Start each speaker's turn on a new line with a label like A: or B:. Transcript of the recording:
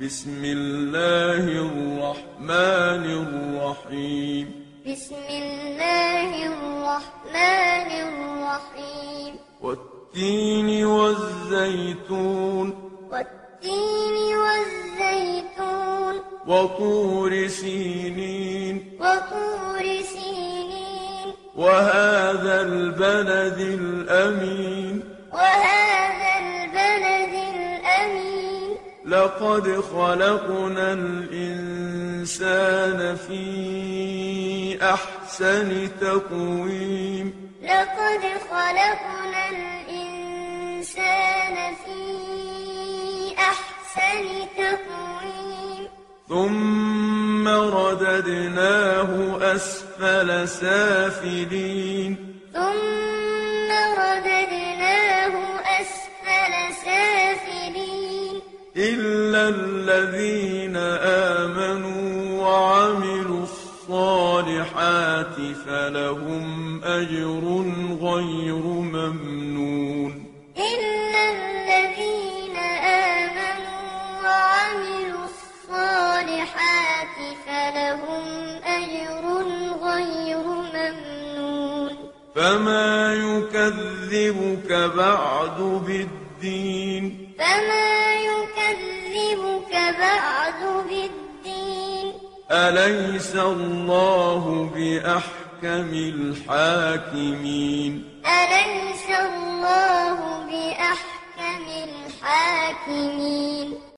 A: بسم الله الرحمن الرحيم
B: بسم الله الرحمن الرحيم
A: والتين والزيتون
B: والتين والزيتون
A: وطور سينين
B: وطور سينين
A: وهذا البلد الأمين
B: وهذا البلد الأمين
A: لقد خلقنا الإنسان في أحسن تقويم
B: لقد خلقنا الإنسان في أحسن تقويم
A: ثم رددناه أسفل سافلين
B: ثم رددناه أسفل سافلين
A: إلا الذين آمنوا وعملوا الصالحات فلهم أجر غير ممنون
B: إلا الذين آمنوا وعملوا الصالحات فلهم أجر غير ممنون
A: فما يكذبك بعد بالدين
B: فما يكذبك بعد بالدين
A: أليس الله بأحكم الحاكمين
B: أليس الله بأحكم الحاكمين